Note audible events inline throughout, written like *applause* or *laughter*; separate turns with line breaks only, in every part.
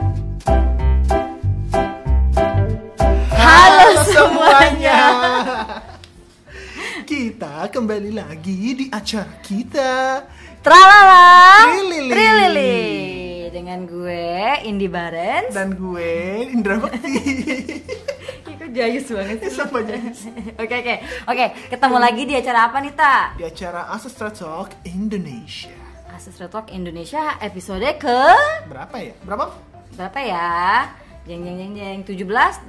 *laughs* kembali lagi di acara kita.
Tralala
Trilili.
Trilili Dengan gue Indi Barens
Dan gue Indra Bakti. *laughs*
Ih, Kok jayus banget sih
Sama jayus.
*laughs* Oke oke Oke ketemu lagi di acara apa nih Ta?
di acara Asestra Talk Indonesia.
Asus Red Talk Indonesia episode ke
Berapa ya? Berapa?
Berapa ya? Jeng jeng jeng jeng 17, 18,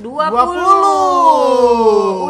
20 Wih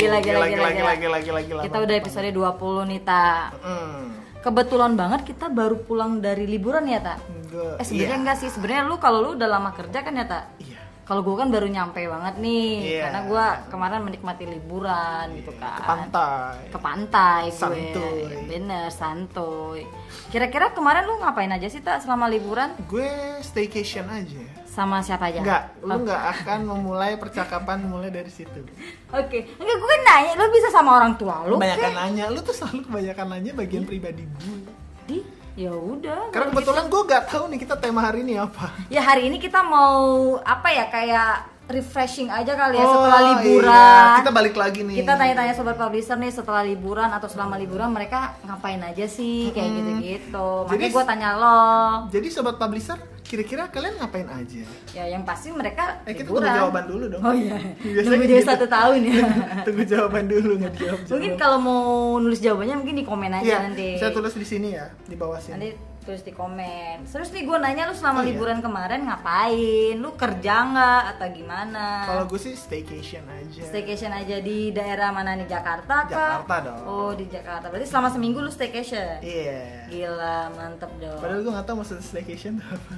gila gila gila, gila.
gila, gila, gila.
Kita udah episode 20 nih Ta
Mm.
Kebetulan banget kita baru pulang dari liburan ya Ta
Gue-
Eh sebenarnya
iya.
enggak sih, sebenarnya lu kalau lu udah lama kerja kan ya tak?
Iya.
Kalau gue kan baru nyampe banget nih,
Iya.
karena gue kemarin menikmati liburan gitu kan.
Ke pantai.
Ke pantai gue.
Santuy.
Bener, santuy. Kira-kira kemarin lu ngapain aja sih tak selama liburan?
Gue staycation aja.
Sama siapa aja?
Enggak, lu
Oh,
enggak akan memulai percakapan mulai dari situ.
Oke, enggak gue kan nanya, lu bisa sama orang tua lu?
Kebanyakan
kek?
nanya, lu tuh selalu kebanyakan nanya bagian
Iya.
pribadi gue.
Di, ya udah.
Karena kebetulan gue gak tahu nih kita tema hari ini apa.
Ya hari ini kita mau apa ya kayak refreshing aja kali ya
Oh,
setelah
iya.
liburan.
Kita balik lagi nih.
Kita tanya-tanya sobat publisher nih setelah liburan atau selama liburan mereka ngapain aja sih kayak gitu-gitu. Makanya
Jadi-
gue tanya lo.
Jadi sobat publisher, kira-kira kalian ngapain aja?
Ya yang pasti mereka
Eh kita
liburan.
tunggu jawaban dulu dong.
Oh iya.
Biasanya
Nunggu jadi
gitu.
satu tahun ya.
*laughs*
*laughs*
tunggu jawaban dulu nggak dijawab.
mungkin kalau mau nulis jawabannya mungkin di komen aja
Iya,
nanti.
saya tulis di sini ya, di bawah sini.
Nanti tulis di komen. Terus nih gue nanya lu
Oh,
selama
iya.
liburan kemarin ngapain? Lu kerja nggak atau gimana?
Kalau gue sih staycation aja.
ah. Staycation aja di daerah mana nih Jakarta kah?
Jakarta dong.
Oh di Jakarta. Berarti selama seminggu lu staycation.
Iya.
Gila mantep dong.
Padahal gue nggak tahu maksud staycation tuh apa.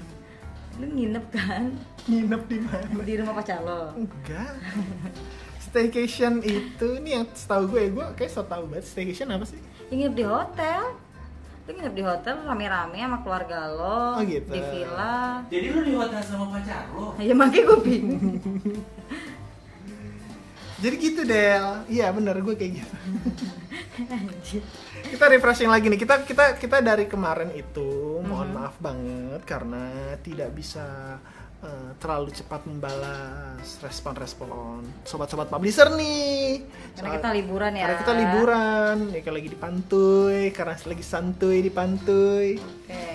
Lu nginep kan *laughs*
Nginep di mana?
di rumah pacar lo?
Enggak. Staycation itu nih yang setahu gue, gue kayak so tau banget staycation apa sih?
Ya, nginep di hotel. Lu nginep di hotel rame-rame sama keluarga lo.
Oh, gitu.
Di villa.
Jadi lu di hotel sama pacar lo?
Ya makanya gue bingung. *laughs*
Jadi gitu Del. Iya bener gue kayak gitu.
Anjir.
kita refreshing lagi nih. Kita kita kita dari kemarin itu mohon
Mm-hmm.
maaf banget karena tidak bisa eh, terlalu cepat membalas respon-respon sobat-sobat publisher nih.
Karena
Soal-
kita liburan ya.
Karena kita liburan, ya kayak lagi di pantai, karena lagi santuy di pantai.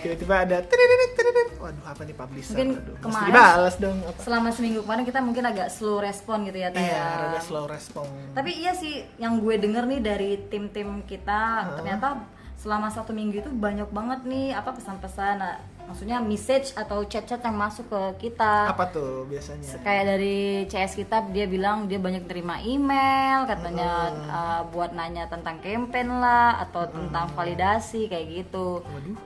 Tiba-tiba ada tiririt, tiririt. Waduh, apa nih publisher?
Mungkin
Aduh, mesti
kemarin-
dibalas dong apa?
Selama seminggu kemarin kita mungkin agak slow respon gitu ya Taya.
Iya, rada slow respon.
Tapi iya sih, yang gue denger nih dari tim-tim kita ternyata selama satu minggu itu banyak banget nih apa pesan-pesan, nah, maksudnya message atau chat-chat yang masuk ke kita.
apa tuh biasanya?
Kayak dari CS kita dia bilang dia banyak terima email katanya uh, buat nanya tentang campaign lah atau tentang validasi kayak gitu.
Waduh,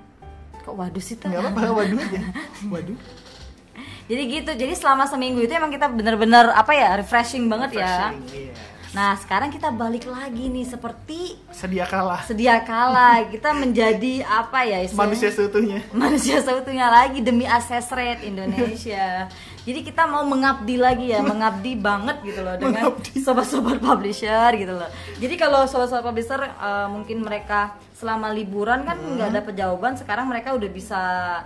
Kok waduh sih tuh?
nggak
*laughs*
apa-apa, waduh aja. Waduh.
Jadi gitu. Jadi selama seminggu itu emang kita bener-bener apa ya refreshing banget ya.
Refreshing, iya.
Nah sekarang kita balik lagi nih seperti
sedia kalah
sedia kala kita menjadi apa ya istilahnya?
manusia seutuhnya
*laughs* manusia seutuhnya lagi demi akses rate Indonesia jadi kita mau mengabdi lagi ya
*laughs*
mengabdi banget gitu loh dengan
Mengabdi.
sobat-sobat publisher gitu loh jadi kalau sobat-sobat publisher eh, mungkin mereka selama liburan kan
Hmm.
nggak dapet jawaban sekarang mereka udah bisa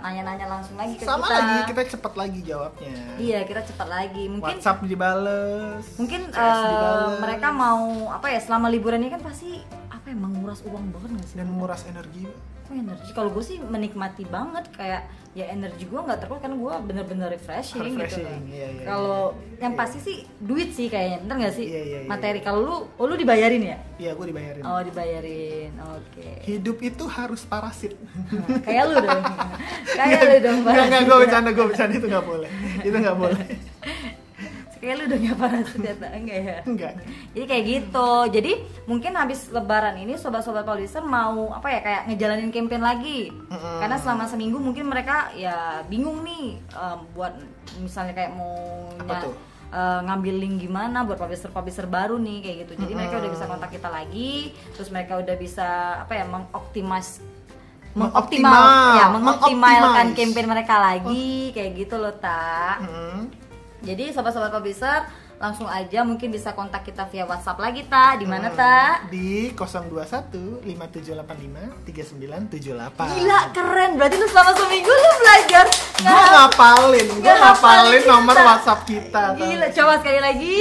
nanya-nanya langsung lagi ke
sama
Iya, kita
lagi kita cepat lagi jawabnya
iya kita cepat lagi mungkin
WhatsApp dibales
mungkin
CS
eh,
dibales,
mereka mau apa ya selama liburan ini kan pasti apa ya menguras uang banget nggak sih
dan menguras energi
Kok energi? Kalau gue sih menikmati banget kayak ya energi gue nggak terkuras karena gue bener-bener refreshing, gitu.
Refreshing,
loh.
iya, iya,
Kalau
iya.
yang
Iya.
pasti sih duit sih kayaknya, bener nggak sih?
Iya, iya, iya,
Materi.
iya.
Kalau lu, oh, lu dibayarin ya?
iya gue dibayarin
Oh dibayarin, oke.
hidup itu harus parasit
Nah, kayak lu
*laughs*
dong, kayak lu dong.
nggak nggak
parasit
gue
ya.
bercanda gue bercanda itu nggak boleh itu nggak boleh
Kayak lu dong ya parasit ya, tak? enggak ya?
enggak
Jadi kayak gitu. Jadi mungkin habis lebaran ini sobat-sobat publisher mau apa ya kayak ngejalanin campaign lagi.
Mm-mm.
Karena selama seminggu mungkin mereka ya bingung nih em, buat misalnya kayak mau
Apa
nya-
tuh?
eh, ngambil link gimana buat publisher-publisher baru nih kayak gitu. Jadi mereka udah
Mm-mm.
bisa kontak kita lagi, terus mereka udah bisa apa ya mengoptimas
Mengoptimal.
mengoptimal ya mengoptimalkan
Mengoptimize.
campaign mereka lagi kayak gitu loh tak.
Mm-mm.
Jadi sobat-sobat publisher eh, langsung aja mungkin bisa kontak kita via WhatsApp lagi ta di mana ta
Di 021 5785 3978.
gila keren berarti lu selama seminggu lu belajar
Gue ngapalin, gue
Nggak
ngapalin
ngapalin
nomor
kita.
WhatsApp kita. Tan.
gila coba sekali lagi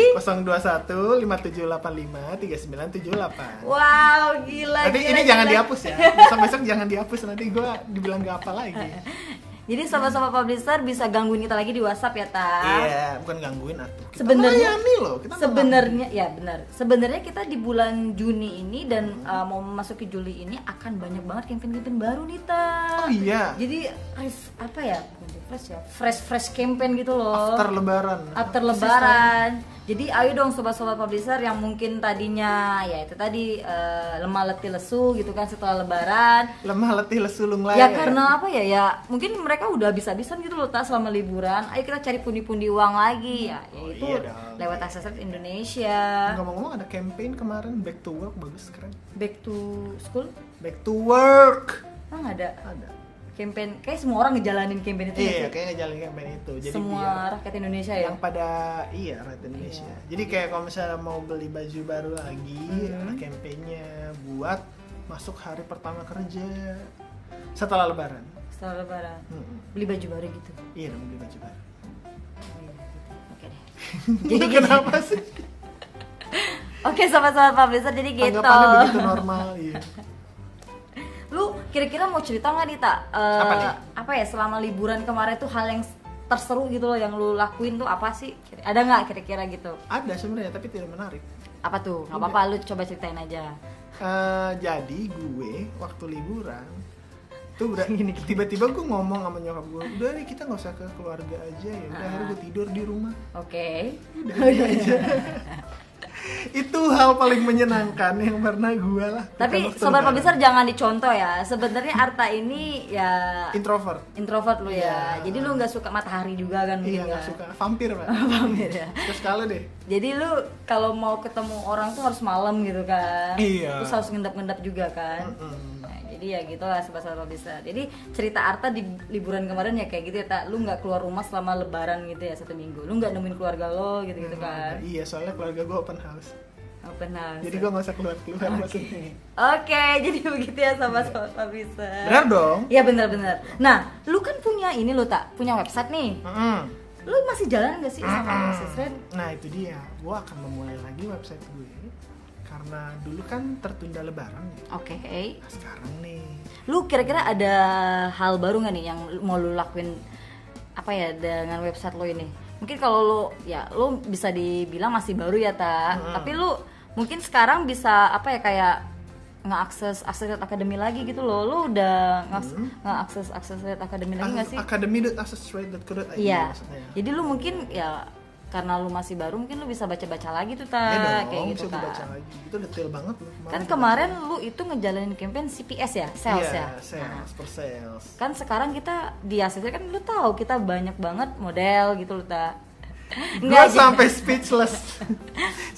021 5785 3978.
wow gila
Nanti
gila,
ini jangan
gila.
dihapus ya. Besok-besok jangan dihapus nanti gue dibilang gak apa lagi.
jadi sobat-sobat publisher bisa gangguin kita lagi di WhatsApp ya ta
Iya, bukan gangguin atuh. Kita
Sebenarnya-
melayani loh, kita
Sebenarnya ya benar. Sebenarnya kita di bulan Juni ini
Hmm.
dan uh, mau memasuki Juli ini akan banyak banget campaign-campaign baru nih ta.
melayani. Oh iya.
Jadi ref- apa ya? Bukan refresh ya. Fresh fresh campaign gitu loh.
After lebaran.
After lebaran. Jadi ayo dong sobat-sobat publisher yang mungkin tadinya ya itu tadi uh, lemah letih lesu gitu kan setelah lebaran
Lemah letih lesu lung layar.
ya karena apa ya ya mungkin mereka udah bisa habisan gitu loh tas selama liburan ayo kita cari pundi-pundi uang lagi ya
Oh,
yaitu
iya dong.
lewat akses Indonesia
ngomong-ngomong ada campaign kemarin back to work bagus keren.
back to school
Back to work.
ah nggak ada
Ada.
campaign kayak semua orang ngejalanin campaign itu nggak
Iya,
sih?
kayaknya ngejalin campaign itu. Jadi
semua
biar
rakyat Indonesia ya
yang pada iya rakyat Indonesia. Jadi kayak kalau misalnya mau beli baju baru lagi,
Hmm.
ada campaignnya buat masuk hari pertama kerja setelah Lebaran.
setelah lebaran
Mm-mm.
beli baju baru gitu
Iya, dong, beli baju
*laughs*
baru.
oke
*laughs*
deh gitu.
Jadi kenapa sih?
oke sobat-sobat publisher jadi gitu
Tanggapannya begitu normal. Iya.
lu kira-kira mau cerita nggak nih tak Eh,
Apa nih?
apa ya selama liburan kemarin tuh hal yang terseru gitu loh yang lu lakuin tuh apa sih Kira- ada nggak kira-kira gitu
Ada sebenarnya tapi tidak menarik.
apa tuh nggak apa-apa lu coba ceritain aja
Eh, jadi gue waktu liburan tuh udah tiba-tiba gue ngomong sama nyokap gue udah nih kita nggak usah ke keluarga aja ya udah akhirnya gue tidur di rumah
oke
itu hal paling menyenangkan yang pernah gue lah
tapi sobat publisher jangan dicontoh ya sebenarnya Arta ini ya
introvert
introvert lu ya
Iya.
jadi lu nggak suka matahari juga kan
iya
mungkin
nggak
ya.
suka vampir
*laughs*
pak
Paham ya?
terus kalau deh
jadi lu kalau mau ketemu orang tuh harus malam gitu kan
Iya.
terus harus ngendap-ngendap juga kan
Mm-mm.
Nah, jadi ya gitulah sobat-sobat bisa. Jadi cerita Arta di liburan kemarin ya kayak gitu ya, tak lu nggak keluar rumah selama lebaran gitu ya satu minggu. Lu nggak nemuin keluarga lo gitu-gitu
Nah,
kan.
iya soalnya keluarga gue open house
Open house.
jadi gue nggak usah keluar keluar maksudnya
Oke, *laughs* jadi begitu ya sobat-sobat bisa.
Iya. benar dong
Iya benar-benar. Nah, lu kan punya ini lo tak punya website nih.
Mm-mm.
Lu masih jalan gak sih sama website Ren?
nah itu dia gue akan memulai lagi website gue karena dulu kan tertunda lebaran ya
Oke.
nah, sekarang nih
Lu kira-kira ada hal baru nggak nih yang mau lu lakuin apa ya dengan website lo ini? Mungkin kalau lo ya lo bisa dibilang masih baru ya ta, tapi lu mungkin sekarang bisa apa ya kayak ngeakses akses akademi lagi gitu loh. Lu udah ngaks- ngeakses akses akademi lagi nggak sih?
academy.accessrate.co.id
Iya.
maksudnya
Jadi lu mungkin ya karena lu masih baru mungkin lu bisa baca-baca lagi tuh ta
Ya dong,
kayak
bisa
gitu
gue baca
kan.
lagi. Itu detail banget loh.
Kan kemarin lu itu ngejalanin campaign CPS ya, sales
Iya,
ya.
sales, per sales.
kan sekarang kita di ACC kan lu tahu kita banyak banget model gitu lu tak
Gue
jadi-
sampai
*laughs*
speechless.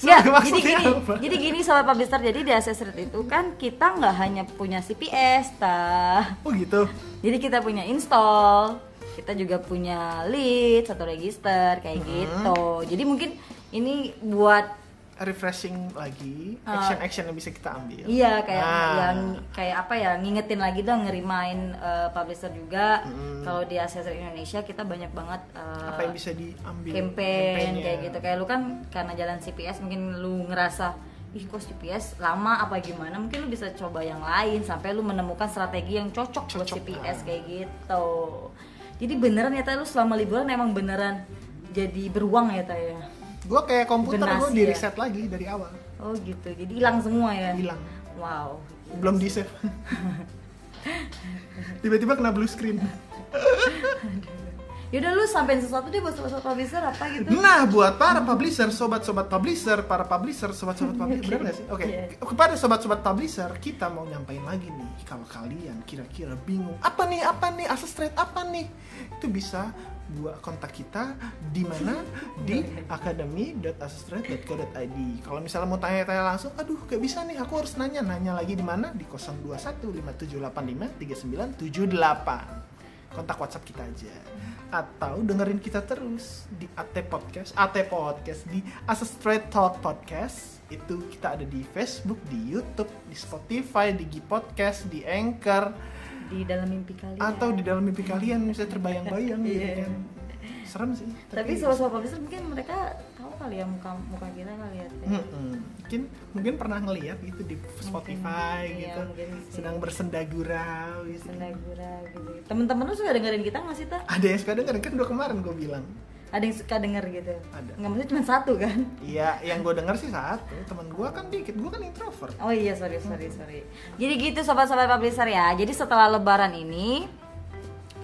Nggak,
Sorry,
jadi
maksudnya
gini,
apa?
jadi gini sobat publisher, jadi di ACC itu kan kita nggak hanya punya CPS, ta.
Oh gitu.
Jadi kita punya install, kita juga punya lead, satu register kayak
Hmm.
gitu. Jadi mungkin ini buat
Refreshing lagi, action-action yang bisa kita ambil.
Ah. Iya kayak
Ah.
yang kayak apa ya ngingetin lagi dong ngerimain eh, publisher juga kalau di Accessor Indonesia kita banyak banget eh,
Hmm. apa yang bisa diambil
campaign
campaignnya.
kayak gitu kayak lu kan karena jalan CPS mungkin lu ngerasa ih kok CPS lama apa gimana mungkin lu bisa coba yang lain sampai lu menemukan strategi yang cocok, buat
Cocok, ah.
CPS kayak gitu jadi beneran ya Tay, lu selama liburan emang beneran jadi beruang ya Tay, ya
Gue kayak komputer gue
Generasi
di
ya.
reset lagi dari awal.
oh gitu jadi hilang semua ya
Hilang.
wow
Belum di
*laughs*
save. Tiba-tiba kena blue screen.
Yaudah lu sampein sesuatu deh buat sobat publisher apa gitu
Nah, buat para publisher, sobat-sobat publisher, para publisher, sobat-sobat publisher, benar nggak sih? Oke, kepada sobat-sobat publisher, kita mau nyampain lagi nih, kalau kalian kira-kira bingung, apa nih, apa nih, asas trade apa nih? Itu bisa buat kontak kita di mana di academy.asastrade.co.id kalau misalnya mau tanya-tanya langsung aduh gak bisa nih aku harus nanya nanya lagi di mana di 021 5785 3978 kontak WhatsApp kita aja atau dengerin kita terus di AT Podcast, AT Podcast di As a Straight Thought Podcast itu kita ada di Facebook, di YouTube, di Spotify, di G Podcast, di Anchor
di dalam mimpi kalian
atau di dalam mimpi kalian bisa terbayang-bayang gitu
Iya.
kan serem sih
tapi sobat-sobat publisher mungkin mereka tahu kali ya muka muka kita kali ya Teh.
Mm-mm. mungkin mungkin pernah ngeliat gitu di Spotify
Mungkin, iya,
gitu
mungkin sih.
sedang bersendagurau gitu
Sendagura gitu temen-temen lu suka dengerin kita nggak sih ta
ada yang suka dengerin kan udah kemarin gue bilang
ada yang suka denger gitu
Ada.
nggak maksudnya cuma satu kan
iya yang gue denger sih satu teman gue kan dikit gue kan introvert
Oh iya sorry sorry sorry. Jadi gitu sobat-sobat publisher ya. Jadi setelah Lebaran ini,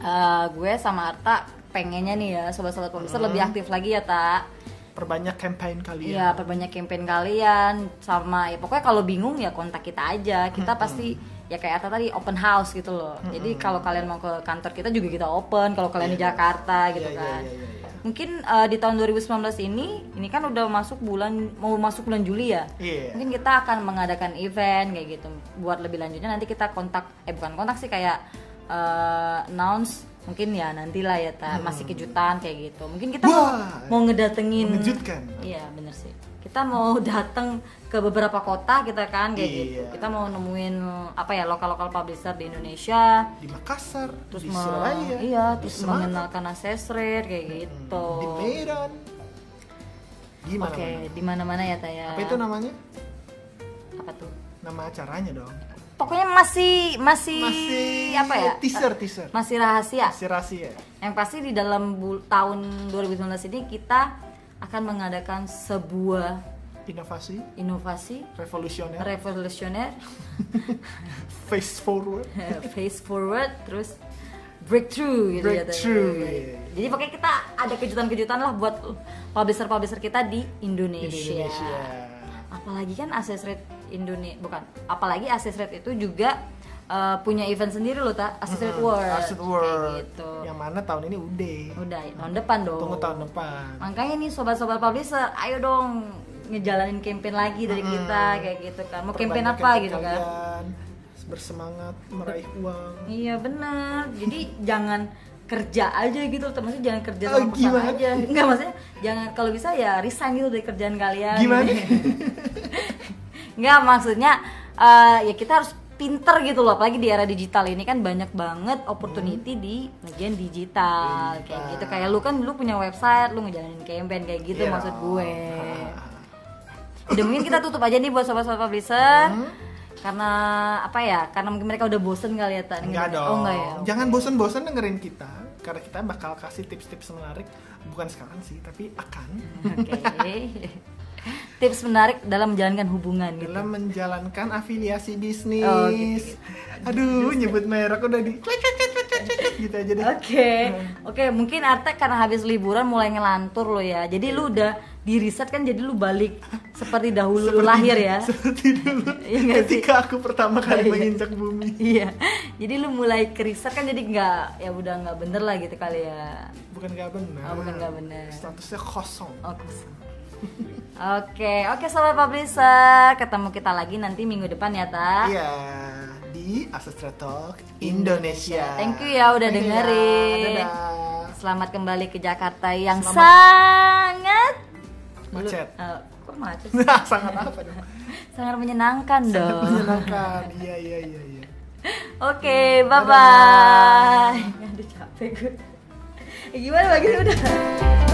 eh, gue sama Arta pengennya nih ya sobat-sobat publisher lebih
Hmm.
aktif lagi ya tak.
perbanyak campaign kalian
Iya perbanyak campaign kalian sama ya pokoknya kalau bingung ya kontak kita aja. Kita
Hmm.
pasti ya kayak Arta tadi open house gitu loh. Jadi kalau kalian mau ke kantor kita juga kita open. Kalau kalian di Jakarta gitu
Iya, iya,
kan.
iya, iya, iya.
Mungkin eh, di tahun 2019 ini, ini kan udah masuk bulan mau masuk bulan Juli ya.
Iya.
Mungkin kita akan mengadakan event kayak gitu. Buat lebih lanjutnya nanti kita kontak, eh bukan kontak sih kayak eh, announce mungkin ya nantilah ya ta masih kejutan kayak gitu. Mungkin kita
Hmm. Wah.
mau, mau ngedatengin.
Mengejutkan.
Iya bener sih. Kita mau *laughs* datang ke beberapa kota kita kan kayak
Iya.
gitu. Kita mau nemuin apa ya lokal-lokal publisher di Indonesia.
di Makassar
Terus
di
me-
Surabaya
iya,
di
terus
Semarang,
mengenalkan asesret kayak
Hmm,
gitu.
di Medan di mana
Oke, di mana-mana ya Taya.
apa itu namanya
Apa tuh?
nama acaranya dong
Pokoknya masih masih,
masih
apa ya?
teaser
Eh,
teaser
Masih rahasia.
masih rahasia
Yang pasti di dalam bul- tahun 2019 ini kita akan mengadakan sebuah
inovasi
inovasi
revolusioner
revolusioner *laughs*
face forward
face forward terus breakthrough gitu ya, Teh.
Breakthrough, iya.
Jadi pokoknya kita ada kejutan-kejutan lah buat publisher-publisher kita di Indonesia.
Indonesia.
Apalagi kan access rate Indonesia bukan, apalagi access rate itu juga eh, punya event sendiri loh, tak access rate world.
Asset
kayak
World
gitu.
yang mana tahun ini udah
Udah tahun depan dong.
tunggu tahun depan
Makanya nih sobat-sobat publisher, ayo dong ngejalanin campaign lagi dari kita kayak gitu kan. Mau campaign
Perbanyak
apa gitu kan?
kalian, bersemangat meraih uang
Iya benar. Jadi jangan kerja aja gitu, maksudnya jangan kerja
Oh,
sama
gimana?
perusahaan aja. Enggak maksudnya jangan kalau bisa ya resign gitu dari kerjaan kalian.
Gimana?
*laughs* Enggak maksudnya eh, ya kita harus pinter gitu loh apalagi di era digital ini kan banyak banget opportunity
Hmm.
di bagian digital kayak gitu kayak lu kan lu punya website lu ngejalanin campaign kayak gitu
Iya.
maksud
*laughs*
gue
Ah.
udah mungkin kita tutup aja nih buat sobat-sobat publisher
Hmm.
karena apa ya karena mungkin mereka udah bosen kali ya Tan.
Enggak dong.
oh enggak ya
Jangan bosan-bosan dengerin kita karena kita bakal kasih tips-tips menarik bukan sekarang sih, tapi akan
oke
*laughs*
tips menarik dalam menjalankan hubungan gitu
dalam menjalankan afiliasi bisnis.
Oh, gitu,
Aduh, nyebut merek udah di gitu aja deh.
Oke,
*laughs*
oke mungkin Arta karena habis liburan mulai ngelantur lo ya. Jadi lu udah di riset kan jadi lu balik seperti dahulu lu
Seperti-
lahir ya.
Seperti dulu
Iya nggak sih?
ketika aku pertama kali menginjak bumi.
*laughs* Iya. Jadi lu mulai ke riset kan jadi nggak ya udah nggak bener lah gitu kali ya.
Bukan nggak benar.
Oh, bukan nggak benar.
Statusnya kosong.
Oke. Oke, oke sobat publisher, ketemu kita lagi nanti minggu depan ya, Ta.
Iya, di Ancestor Talk Indonesia.
Thank you ya udah
Thank you ya.
dengerin.
Dadah.
Selamat kembali ke Jakarta yang
Selamat.
sangat lu- Oh.
Macet. *laughs*
eh, kok macet? sih?
Nah, sangat apa dong?
sangat menyenangkan dong.
Menyenangkan. Iya, iya, iya, iya.
Oke, bye bye. Aduh capek gue. Eh, Gimana lagi udah?